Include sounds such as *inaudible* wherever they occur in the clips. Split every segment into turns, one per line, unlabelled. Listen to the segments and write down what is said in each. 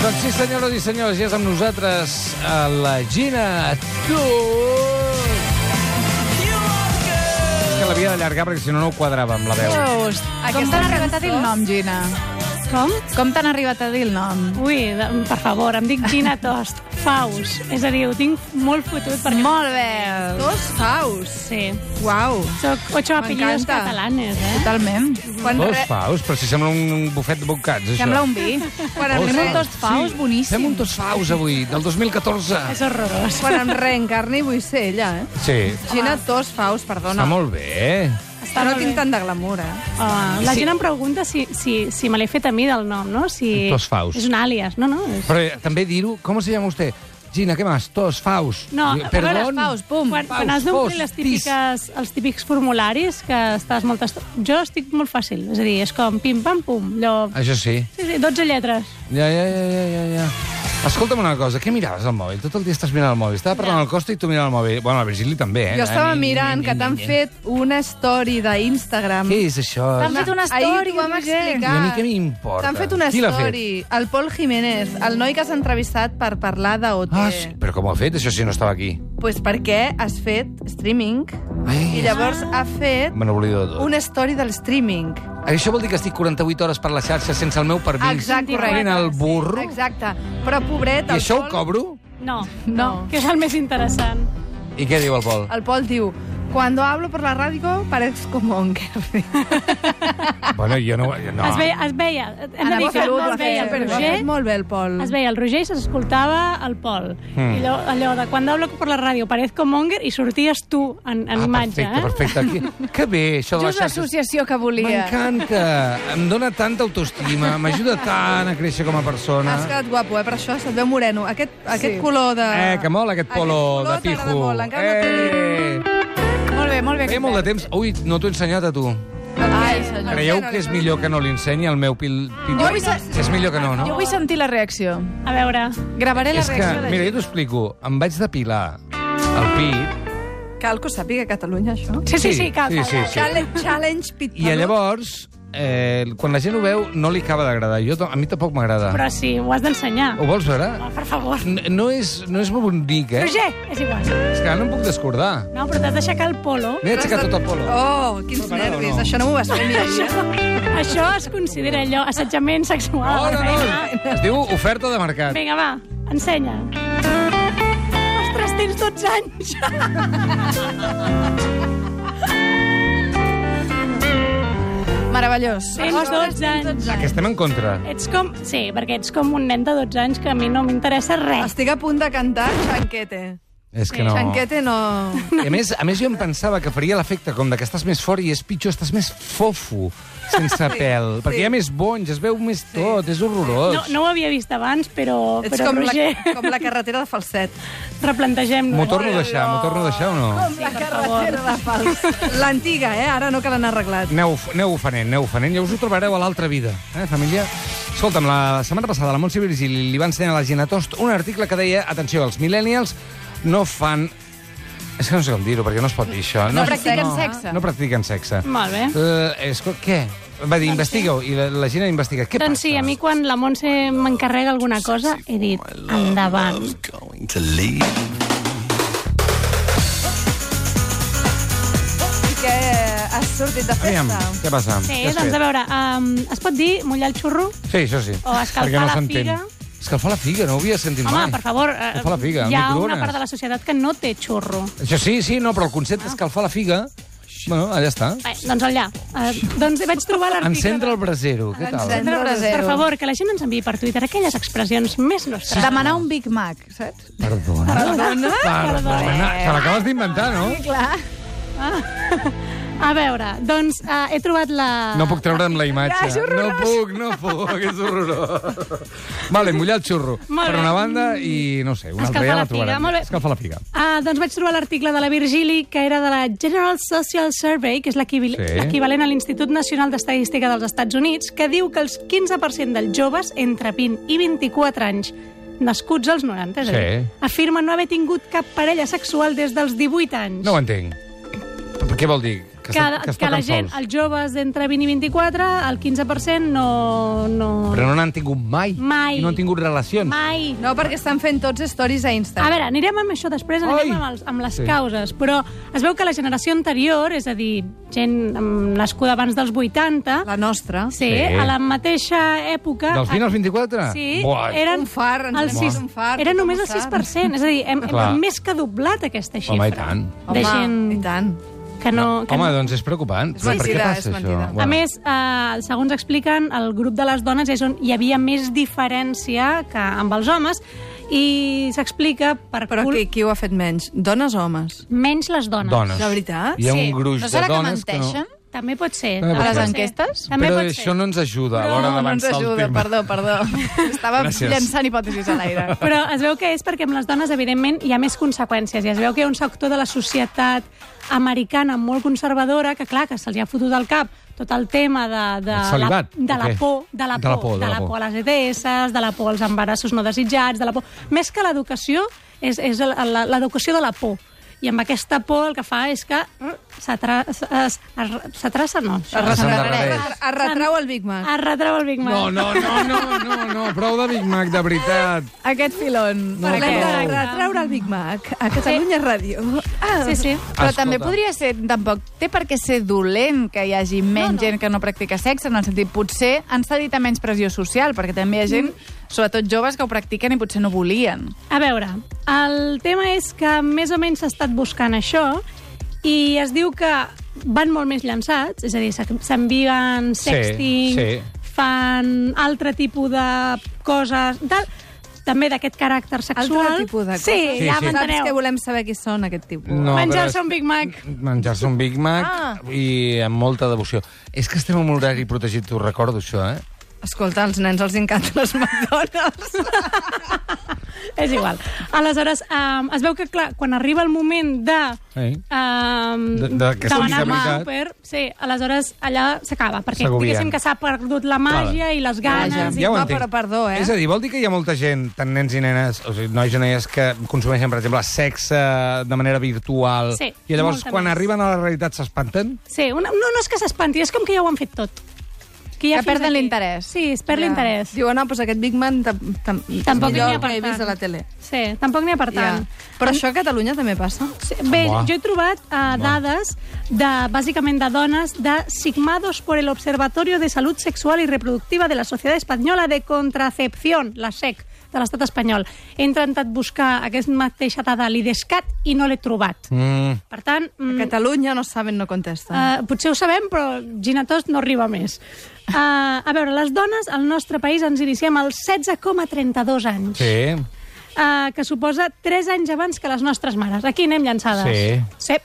Doncs sí, senyores i senyors, ja és amb nosaltres a la Gina Tur. És que l'havia d'allargar perquè si no no ho quadrava amb la veu.
Just. Com t'han arribat a dir el nom, Gina?
Com?
Com t'han arribat a dir el nom?
Ui, de- per favor, em dic Gina Tost. Faus. És a dir, ho tinc molt fotut perquè...
Molt bé.
Dos faus.
Sí.
Uau.
Soc ocho apellidos
M'encanta.
catalanes, eh?
Totalment.
Quan,
Dos
re...
faus, però si sembla un bufet de bocats, això.
Sembla un vi.
quan, em
Dos
re...
Fem un dos faus boníssim.
Fem un dos faus avui, del 2014.
És horrorós.
quan em reencarni vull ser ella, eh?
Sí,
Gina, dos faus,
està
perdona.
molt bé.
Però no tinc tant de glamour, eh?
Uh, la gent em pregunta si, si, si me l'he fet a mi del nom, no? Si...
Tos Faus.
És un àlies, no, no? És...
Però eh, també dir-ho... Com se llama vostè? Gina, què más? Tos, faus.
No,
Diu,
a
Perdón.
veure, Faus,
pum.
Quan, quan
Faus,
has d'omplir
Faus,
les
tis.
típiques, els típics formularis que estàs molt... Est... Jo estic molt fàcil, és a dir, és com pim-pam-pum, allò...
Això sí.
Sí, sí, 12 lletres.
Ja, ja, ja, ja, ja, ja. Escolta'm una cosa, què miraves al mòbil? Tot el dia estàs mirant el mòbil. Estava parlant al Costa i tu mirant el mòbil. Bueno, la Virgili també, eh?
Jo estava
Ni, ni,
mirant
ni,
que
ni,
t'han
ni.
fet una story d'Instagram.
Què és això?
T'han fet una
Ahir
story,
t'ho vam explicar.
I a mi què m'importa?
T'han fet una
Qui l'ha
story. El Pol Jiménez, el noi que has entrevistat per parlar d'OT.
Ah, sí, però com ho ha fet, això, si no estava aquí?
pues perquè has fet streaming
Ai,
i llavors ha fet
me n'oblido de tot.
una story del streaming.
Això vol dir que estic 48 hores per la xarxa sense el meu permís.
Exacte, correcte.
Fent el burro.
Exacte. Però, pobret,
I
el
això ho
Pol...
cobro?
No,
No.
que és el més interessant.
I què diu el
*laughs*
Pol?
El Pol diu, cuando hablo por la radio parezco monker.
Bueno, jo no... no.
Es veia, es veia, hem de
Anava
dir
a
que
fer-ho,
no
ho ha
es veia
fet,
el
ho ha fet
Roger,
molt bé el Pol.
es veia el Roger i s'escoltava el Pol.
Mm.
Mm. I allò, allò de quan hablo per la ràdio parezco monger i sorties tu en, en
ah,
imatge. eh?"
perfecte, perfecte. Que, que bé, això de les
Just
xarxes.
l'associació que volia.
M'encanta. Em dóna tanta autoestima, m'ajuda tant a créixer com a persona.
Has quedat guapo, eh? Per això se't veu moreno. Aquest, aquest color de...
Eh, que mola aquest polo de
aquest color
pijo.
t'agrada Molt, encara eh.
Eh,
Molt bé, molt bé.
feia molt de temps. Ui, no t'ho he ensenyat a tu.
Ai, senyor.
Creieu que és millor que no li ensenyi al meu pil... pil...
vull sa-
És millor que no,
Jo
no?
vull sentir la reacció.
A veure,
Gravaré la
És que,
reacció de
mira, jo t'ho explico. Em vaig depilar el pit
Cal que ho sàpiga Catalunya, això.
sí, sí, sí,
Sí,
cal,
sí,
cal,
sí,
cal.
sí.
Challenge, challenge pit
i llavors, eh, quan la gent ho veu, no li acaba d'agradar. Jo, to- a mi tampoc m'agrada.
Però sí, ho has d'ensenyar.
Ho vols veure?
Oh, per favor.
N- No és, no és bonic, eh?
Roger, és igual.
És que ara no em puc descordar.
No, però t'has d'aixecar el polo.
M'he aixecat tot el polo.
Oh, quins
Preparada o
nervis.
no?
Això no m'ho vas
Eh?
fer ni ahir.
Això, això es considera allò assetjament sexual.
No, no,
Vinga.
no. Es diu oferta de mercat.
Vinga, va, ensenya. Ostres, tens 12 anys.
Meravellós.
Tens 12 anys.
Que estem en contra.
Ets com... Sí, perquè ets com un nen de 12 anys que a mi no m'interessa res.
Estic a punt de cantar Xanquete.
És que no.
Xanquete no...
Oh,
I a més, a més jo em pensava que faria l'efecte com de que estàs més fort i és pitjor, estás més fofo, sense pèl. Perquè hi ha més bonys, es veu més tot, és horrorós.
No, no ho havia vist abans, però,
Ets
però
com la,
Roger, *laughs* eh?
com la carretera de falset.
replantegem-nos.
M'ho torno a deixar, m'ho torno a deixar o no?
la carretera de falset. L'antiga, eh? Ara no que l'han arreglat.
Aneu, aneu ofenent, aneu ofenent. Ja us ho trobareu a l'altra vida, eh, família? Escolta'm, la setmana passada la Montse Virgili li va ensenyar a la Gina Tost un article que deia, atenció, els millennials no fan... És que no sé com dir-ho, perquè no es pot dir això.
No
es-
practiquen
no,
sexe.
No practiquen sexe.
Molt bé.
Eh, és, què? Va dir, investigueu, i la, la Gina investiga. Què
Doncs
passa?
sí, a mi quan la Montse m'encarrega alguna cosa, he dit, endavant.
going to leave.
I que eh, has sortit de
Aviam,
festa.
què passa?
Sí,
Què has
doncs a
fet?
veure, um, es pot dir mullar el xurro?
Sí, això sí.
O escalfar
Perquè no
la
s'entén.
figa.
Escalfar la figa, no ho havia sentit
Home,
mai.
per favor, eh,
Escalfar la figa,
hi ha una
microones.
part de la societat que no té xurro.
Això sí, sí, no, però el concepte
Ah.
escalfar la figa... Bueno, allà està.
Bé, doncs allà. Uh, doncs vaig trobar l'article...
Encendre
de-
el brasero, què tal?
Encendre-
Sandra
Per
Brasero.
favor, que la gent ens enviï per Twitter aquelles expressions més nostres.
Demanar un Big Mac, saps?
Perdona. Perdona. Perdona. Te l'acabes d'inventar, no?
Clar.
A veure, doncs uh, he trobat la...
No puc treure'm la
Ja,
Ah,
imatge.
és
No
horrorós.
puc, no puc, és horrorós. Vale, mullar el xurro.
Molt
Per
bé.
una banda i, no sé, una altra
Escalfar
ja
la
la
figa,
trobarem.
molt bé.
Escalfar la figa.
Ah, doncs vaig trobar l'article de la Virgili, que era de la General Social Survey, que és l'equivi-
Sí.
l'equivalent a l'Institut Nacional d'Estadística dels Estats Units, que diu que el 15% dels joves entre 20 i 24 anys nascuts als 90, és a dir,
Sí.
afirmen no haver tingut cap parella sexual des dels 18 anys.
No ho entenc. Però Què vol dir? Que Que,
que,
es, que es
que la
toquen
gent,
sols.
els joves d'entre 20 i 24, el 15% no... no...
Però no n'han tingut mai.
Mai.
I no han tingut relacions.
Mai.
No, perquè estan fent tots stories a
A
Instagram.
veure, anirem amb això després,
Ai!
anirem amb, els, amb les
Sí.
sí. causes, però es veu que la generació anterior, és a dir, gent mm, nascuda abans dels 80,
La nostra.
sí,
Sí.
a la mateixa època...
Dels 20 als 24?
Sí,
Buah.
eren
Un far, ens
el
n'hem
sis-
fet un far,
Era
tothom
només
ho
el
sap.
6%, és a dir, hem,
Clar.
hem més que doblat aquesta xifra.
Home, i tant.
Home,
De gent
i tant.
que no... Que
Home,
no.
doncs és preocupant.
És
Clar, per què
mentida,
passa
és mentida.
això?
A més, eh, segons expliquen, el grup de les dones és on hi havia més diferència que amb els homes i s'explica per
Però
cul-
qui, qui ho ha fet menys? Dones o homes?
menys les dones.
dones.
De veritat?
Hi ha un gruix
no
de
serà que
dones que no...
menteixen?
També pot ser.
També pot ser. A
També pot
les
ser.
enquestes?
També
Però
pot
això
ser.
no ens ajuda a
No,
l'hora
no ens
d'avançar el
ajuda,
tema.
perdó, perdó.
*laughs*
Estava
Gràcies.
llançant hipòtesis a
*laughs*
l'aire.
Però es veu que és perquè amb les dones, evidentment, hi ha més conseqüències. I es veu que hi ha un sector de la societat americana molt conservadora que, clar, que se'ls ha fotut al cap tot el tema de, de,
El celibat,
la, de
o
la
què?
por, de la por, de la por a les ETS, de la por als embarassos no desitjats, de la por... Més que l'educació, és, és el- la- l'educació de la por. I amb aquesta por el que fa és que mm, s'atra- es- es- s'atrasa, no.
S'endarrereix.
Es retrau el Big Mac.
Es retreu el Big Mac.
No, no, no, no, no, no, prou de Big Mac, de veritat.
Aquest filon.
No,
Parlem de
prou.
retreure el Big Mac a Catalunya Ràdio. Ah,
Sí, sí.
Però
Escolta.
també podria ser, tampoc té per què ser dolent que hi hagi menys gent que no practica sexe, en el sentit, potser han cedit a menys pressió social, perquè també hi ha gent, sobretot joves, que ho practiquen i potser no volien.
A veure, el tema és que més o menys s'ha estat buscant això i es diu que van molt més llançats, és a dir, s'ac- s'envien
Sí,
sexting,
sí.
fan altre tipus de coses, de, també d'aquest caràcter sexual.
tipus de
Sí,
coses.
Sí, sí.
sí ja sí.
Saps doncs que
m'enteneu.
volem saber qui són aquest tipus.
No,
Menjar-se
però-
un Big Mac.
Menjar-se un Big Mac ah. i amb molta devoció. És que estem en un horari protegit, t'ho recordo, això, eh?
Escolta, als nens els encanten els McDonald's.
És igual. Aleshores, um, es veu que, clar, quan arriba el moment de...
Ei.
Um,
De- de- que sigui de veritat.
Uber, sí, aleshores allà s'acaba, perquè
S'agobien.
diguéssim que s'ha perdut la màgia i les ganes.
Vaja.
I...
no, però perdó, eh?
És a dir, vol dir que hi ha molta gent, tant nens i nenes, o sigui, nois i noies, que consumeixen, per exemple, sexe de manera virtual,
Sí,
i llavors
molta
quan
més.
arriben a la realitat s'espanten?
Sí, una, no, no és que s'espanti, és com que ja ho han fet tot. Que,
Que
fins
perden
aquí.
l'interès.
Sí, es perd l'interès.
Diuen, no, doncs aquest Big Man tam tam
Tampoc n'hi
millor
ha per
que he vist
tant.
a la tele.
Sí, tampoc n'hi ha per
Ja.
tant.
Però això a Catalunya també passa?
Sí, Bé,
Home.
jo he trobat uh, dades de, bàsicament de dones de signados por el Observatorio de Salud Sexual y Reproductiva de la Sociedad Española de Contracepción, la SEC, de l'estat espanyol. He intentat buscar aquesta mateixa dada a l'IDESCAT i no l'he trobat.
Mm.
Per tant,
A
mm,
Catalunya no saben, no contesten.
Uh, potser ho sabem, però Ginatós no arriba més. Uh, a veure, les dones al nostre país ens iniciem als 16,32 anys,
Sí.
uh, que suposa 3 anys abans que les nostres mares. Aquí anem llançades.
Sí.
sí.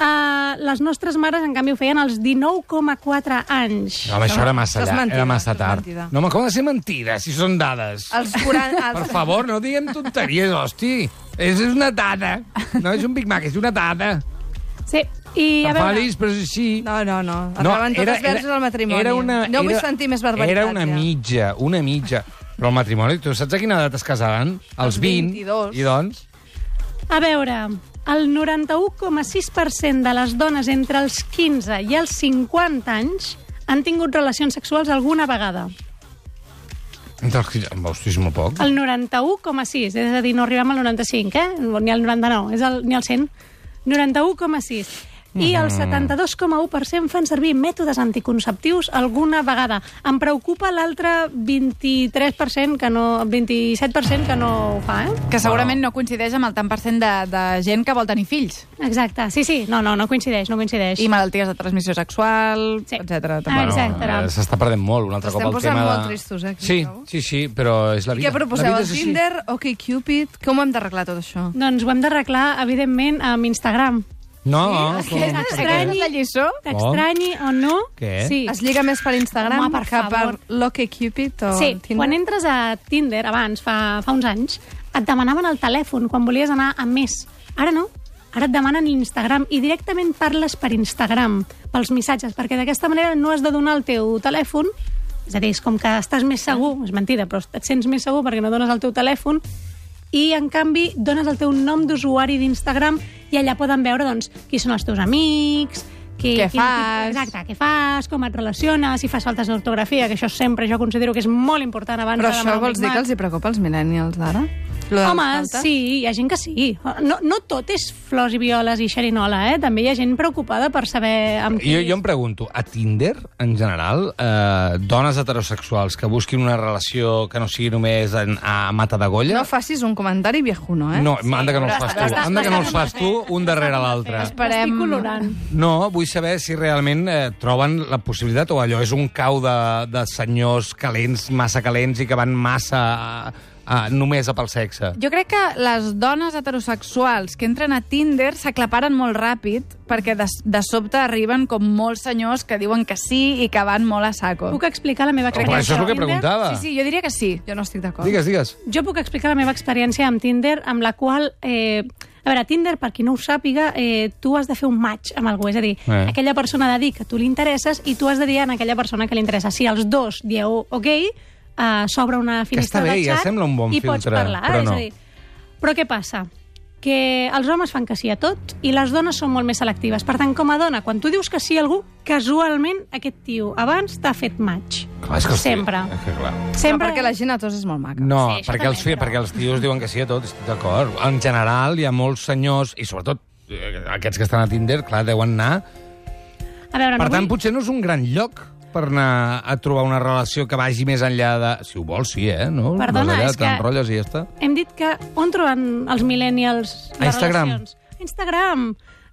Uh, les nostres mares, en canvi, ho feien als 19,4 anys.
Home, això era massa
això és
llarg,
mentida,
era massa
això és
tard.
mentida.
No, m'acaba de ser mentida, si són dades.
Els 40...
Per
Els...
favor, no diguem tonteries, hosti. És una dada. No és un Big Mac, és una dada.
Sí. I, a veure,
Enfadis, però és així.
No, no, no. Acaben no, totes verges al matrimoni.
Era una,
no vull
era,
sentir més barbaritat.
Era una
ja.
mitja, una mitja. Però el matrimoni, tu saps a quina edat es casaran? Als
Als
20.
22.
I doncs?
a veure, el 91,6% de les dones entre els 15 i els 50 anys han tingut relacions sexuals alguna vegada.
Entre els 15... Hosti, és molt poc.
El 91,6, és a dir, no arribem al 95, eh? ni al 99, és el, ni al 100. 91,6. I
Mm.
el 72,1% fan servir mètodes anticonceptius alguna vegada. Em preocupa l'altre 23% que no... 27% que no ho fa, eh?
Que segurament no coincideix amb el tant per cent de, de gent que vol tenir fills.
Exacte, sí, sí. No, no, no coincideix, no coincideix.
I malalties de transmissió sexual,
Sí.
sí. etcètera.
Ah,
també.
exacte.
eh, S'està perdent molt, un altre
Estem
cop el
posant
tema de...
molt tristos, eh, aquí,
sí,
trobo.
sí, sí, però és la
I
vida.
Què proposeu?
La vida
El
és així.
Tinder? OkCupid? Com ho hem d'arreglar tot això?
Doncs ho hem d'arreglar, evidentment, amb Instagram.
No, com...
Aquesta és la lliçó.
T'estranyi o no...
Què?
Sí.
Es lliga més per Instagram
Home, per
que per
favor.
l'OkCupid o
Sí,
Tinder?
quan entres a Tinder, abans, fa, fa uns anys, et demanaven el telèfon quan volies anar a més. Ara no. Ara et demanen Instagram i directament parles per Instagram, pels missatges, perquè d'aquesta manera no has de donar el teu telèfon, és a dir, és com que estàs més segur, és mentida, però et sents més segur perquè no dones el teu telèfon, i en canvi dones el teu nom d'usuari d'Instagram i allà poden veure doncs, qui són els teus amics, Qui,
Què
quin-
fas?
Exacte, què fas, com et relaciones, si fas faltes d'ortografia, que això sempre jo considero que és molt important abans
Però
de
això
demanar un Big
vols dir
Mac.
que els hi preocupa als millennials d'ara? Lo de les
Home,
faltes?
sí, hi ha gent que sí. No, no tot és flors i violes i xerinola, eh? També hi ha gent preocupada per saber amb qui...
Jo, jo em pregunto, a Tinder, en general, eh, dones heterosexuals que busquin una relació que no sigui només en, a mata de golla...
No facis un comentari viejuno, eh?
No, anda que no els
però
fas
estàs-
tu.
estàs-
Anda que no els
estàs-
fas tu, un darrere l'altre.
Esperem...
Estic colorant.
No, vull saber si realment eh, troben la possibilitat o allò és un cau de, de senyors calents, massa calents i que van massa a, a, només a pel sexe.
Jo crec que les dones heterosexuals que entren a Tinder s'aclaparen molt ràpid perquè de, de sobte arriben com molts senyors que diuen que sí i que van molt a saco.
Puc explicar la meva
Però
experiència?
això és el que
amb Tinder?
preguntava.
Sí, sí, jo diria que sí. Jo no estic d'acord.
Digues, digues.
Jo puc explicar la meva experiència amb Tinder, amb la qual... Eh, a veure, Tinder, per qui no ho sàpiga, eh, tu has de fer un match amb algú. És a dir,
Eh.
eh. aquella persona ha de dir que tu li interesses i tu has de dir a aquella persona que li interessa. Si els dos dieu ok, eh, s'obre una finestra
està bé,
de
ja
xat
sembla un bon
i pots
filtre,
parlar.
però no.
És a dir, però què passa? Que els homes fan que sí a tot i les dones són molt més selectives. Per tant, com a dona, quan tu dius que sí a algú, casualment aquest tio abans t'ha fet match.
Clar, és que els-
Sempre.
És que, clar.
Sempre...
Sempre...
Però perquè la gent a tots és molt maca.
No,
Sí, això
perquè, els, fi-
també, però-
perquè els tios diuen que sí a tot, estic d'acord. En general, hi ha molts senyors, i sobretot eh, aquests que estan a Tinder, clar, deuen anar...
A veure,
Per
no
tant,
vull...
potser no és un gran lloc per anar a trobar una relació que vagi més enllà de... Si ho vols, sí, eh? No?
Perdona,
Vas allà,
és que-
T'enrotlles i ja està.
Hem dit que on troben els millennials
A
les
Instagram.
relacions? A Instagram.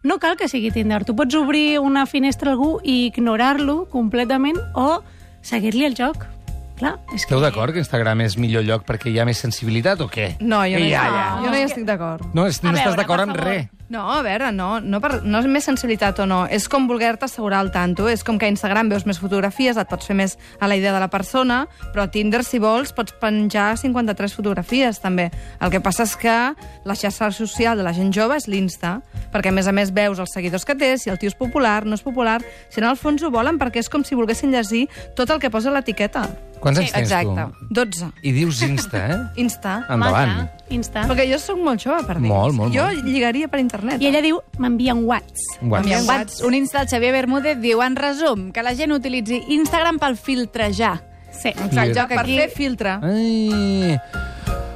No cal que sigui Tinder. Tu pots obrir una finestra a algú i ignorar-lo completament o seguir-li el joc. Clar, és que...
Esteu d'acord que Instagram és millor lloc perquè hi ha més sensibilitat o què?
No, jo no, hi-
Ja,
no, jo no hi estic d'acord.
No, és, no
A
estàs
veure,
d'acord
per
en
favor.
res.
No, a veure, no, no, per, no és més sensibilitat o no. És com voler-te assegurar al tanto. És com que a Instagram veus més fotografies, et pots fer més a la idea de la persona, però a Tinder, si vols, pots penjar 53 fotografies, també. El que passa és que la xarxa social de la gent jove és l'Insta, perquè, a més a més, veus els seguidors que té, si el tio és popular, no és popular, si en el fons ho volen perquè és com si volguessin llegir tot el que posa l'etiqueta.
Quants anys tens
Exacte,
tu?
12.
I dius Insta, eh?
Insta.
Home,
Endavant.
clar, Insta.
Perquè jo sóc molt jove, per dir.
Molt, molt,
jo
molt.
lligaria per internet.
I ella diu, m'envia un whats.
Guai.
Enviem
Whats, un Insta del Xavier Bermúdez diu, en resum, que la gent utilitzi Instagram pel filtrejar.
Sí.
Mira.
Exacte, per
Aquí-
fer filtre.
Ai...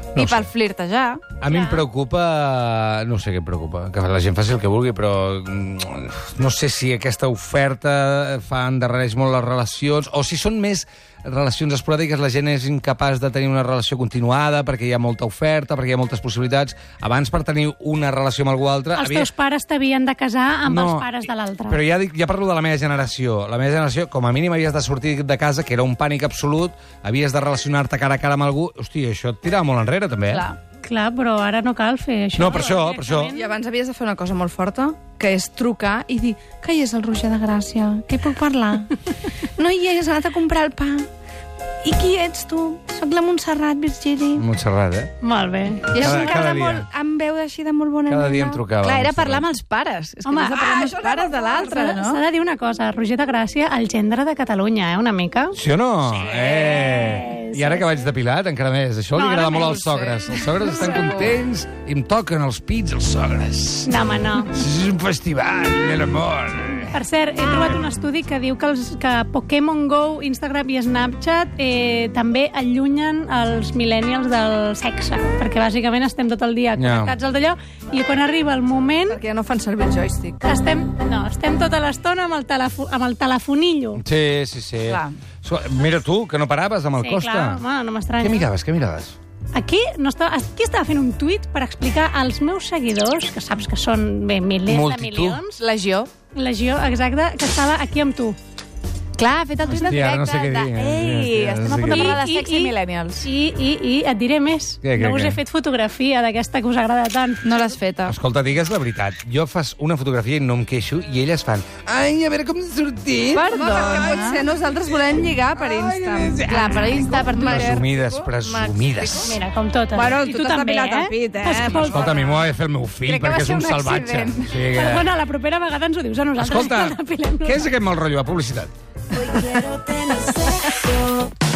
No
I
ho sé.
per flirtejar.
A mi em preocupa... No sé què em preocupa. Que la gent faci el que vulgui, però... mm, No sé si aquesta oferta fa endarrereix molt les relacions, o si són més relacions esporàdiques, la gent és incapaç de tenir una relació continuada perquè hi ha molta oferta, perquè hi ha moltes possibilitats. Abans, per tenir una relació amb algú altre...
Els teus pares t'havien de casar amb els pares de
Però
l'altre.
ja, dic, ja parlo de la meva generació. La meva generació, com a mínim, havies de sortir de casa, que era un pànic absolut, havies de relacionar-te cara a cara amb algú... Hòstia, això et tirava molt enrere, també. eh?
Clar.
Clar, però ara no cal fer això.
No, per això, per això.
I abans havies de fer una cosa molt forta, que és trucar i dir que hi és el Roger de Gràcia, que hi puc parlar? no hi és, ha anat a comprar el pa. I qui ets tu? Soc la Montserrat Virgili.
Montserrat, eh?
Molt bé.
I és
Cada-
una
cada
cara
dia.
molt, amb veu així de molt bona
Cada
nena.
dia em trucava.
Clar, era
Montserrat.
parlar amb els pares. És que
Home,
Home, de parlar
ah,
amb
això
els
era
pares de
molt
l'altre,
fort,
no?
S'ha de dir una cosa, Roger de Gràcia, el gendre de Catalunya, eh, una mica.
Sí o no? Sí, eh! I ara que vaig depilat, encara més. Això
No,
li agrada
ara
molt
més,
als sogres. Els sogres estan contents i em toquen els pits, els sogres.
No, home, no.
És un festival de l'amor.
Per cert, he trobat un estudi que diu que, els, que Pokémon GO, Instagram i Snapchat eh, també allunyen els millennials del sexe, perquè bàsicament estem tot el dia
Ja.
connectats al d'allò i quan arriba el moment
Perquè ja no fan servir el joystick.
estem, no, estem tota l'estona amb, el telefo, amb el telefonillo.
Sí, sí, sí.
Clar.
So- Mira tu, que no paraves amb el
Sí,
Costa.
clar, home, no m'estranya.
Què miraves, què miraves?
Aquí, no estava, aquí estava fent un tuit per explicar als meus seguidors, que saps que són bé, milers
Multitud.
de milions,
Legió.
legió, exacte, que estava aquí amb tu.
Clar, ha fet el tuit en
Hòstia, ara no
directe.
sé què
de,
dir, eh?
Ei,
Hòstia, no
estem
sé
a
què
punt de
dir.
parlar de
I-
sexe i,
i-
millennials.
I, i, i et diré més.
Què, què,
no us
què?
he fet fotografia d'aquesta que us agrada tant.
No l'has feta.
Escolta, digues la veritat. Jo fas una fotografia i no em queixo, i elles fan... Ai, a veure com s'ha sortit.
Perdó. eh? No, perquè potser nosaltres volem lligar per Insta.
Clar, per Insta, per Twitter.
Presumides, presumides.
Mira, com totes.
Bueno,
I
tu
tu
t'has
també,
depilat
eh?
el pit, eh?
Escolta,
Escolta, a mi m'ho ha de fer el meu fill,
Crec que va
perquè és
ser
un
un
salvatge.
accident.
Sí,
*laughs*
que...
Perdona, la propera vegada ens ho dius a nosaltres.
Escolta,
que depilem
què és aquest mal rotllo? A publicitat.
Hoy quiero tener sexo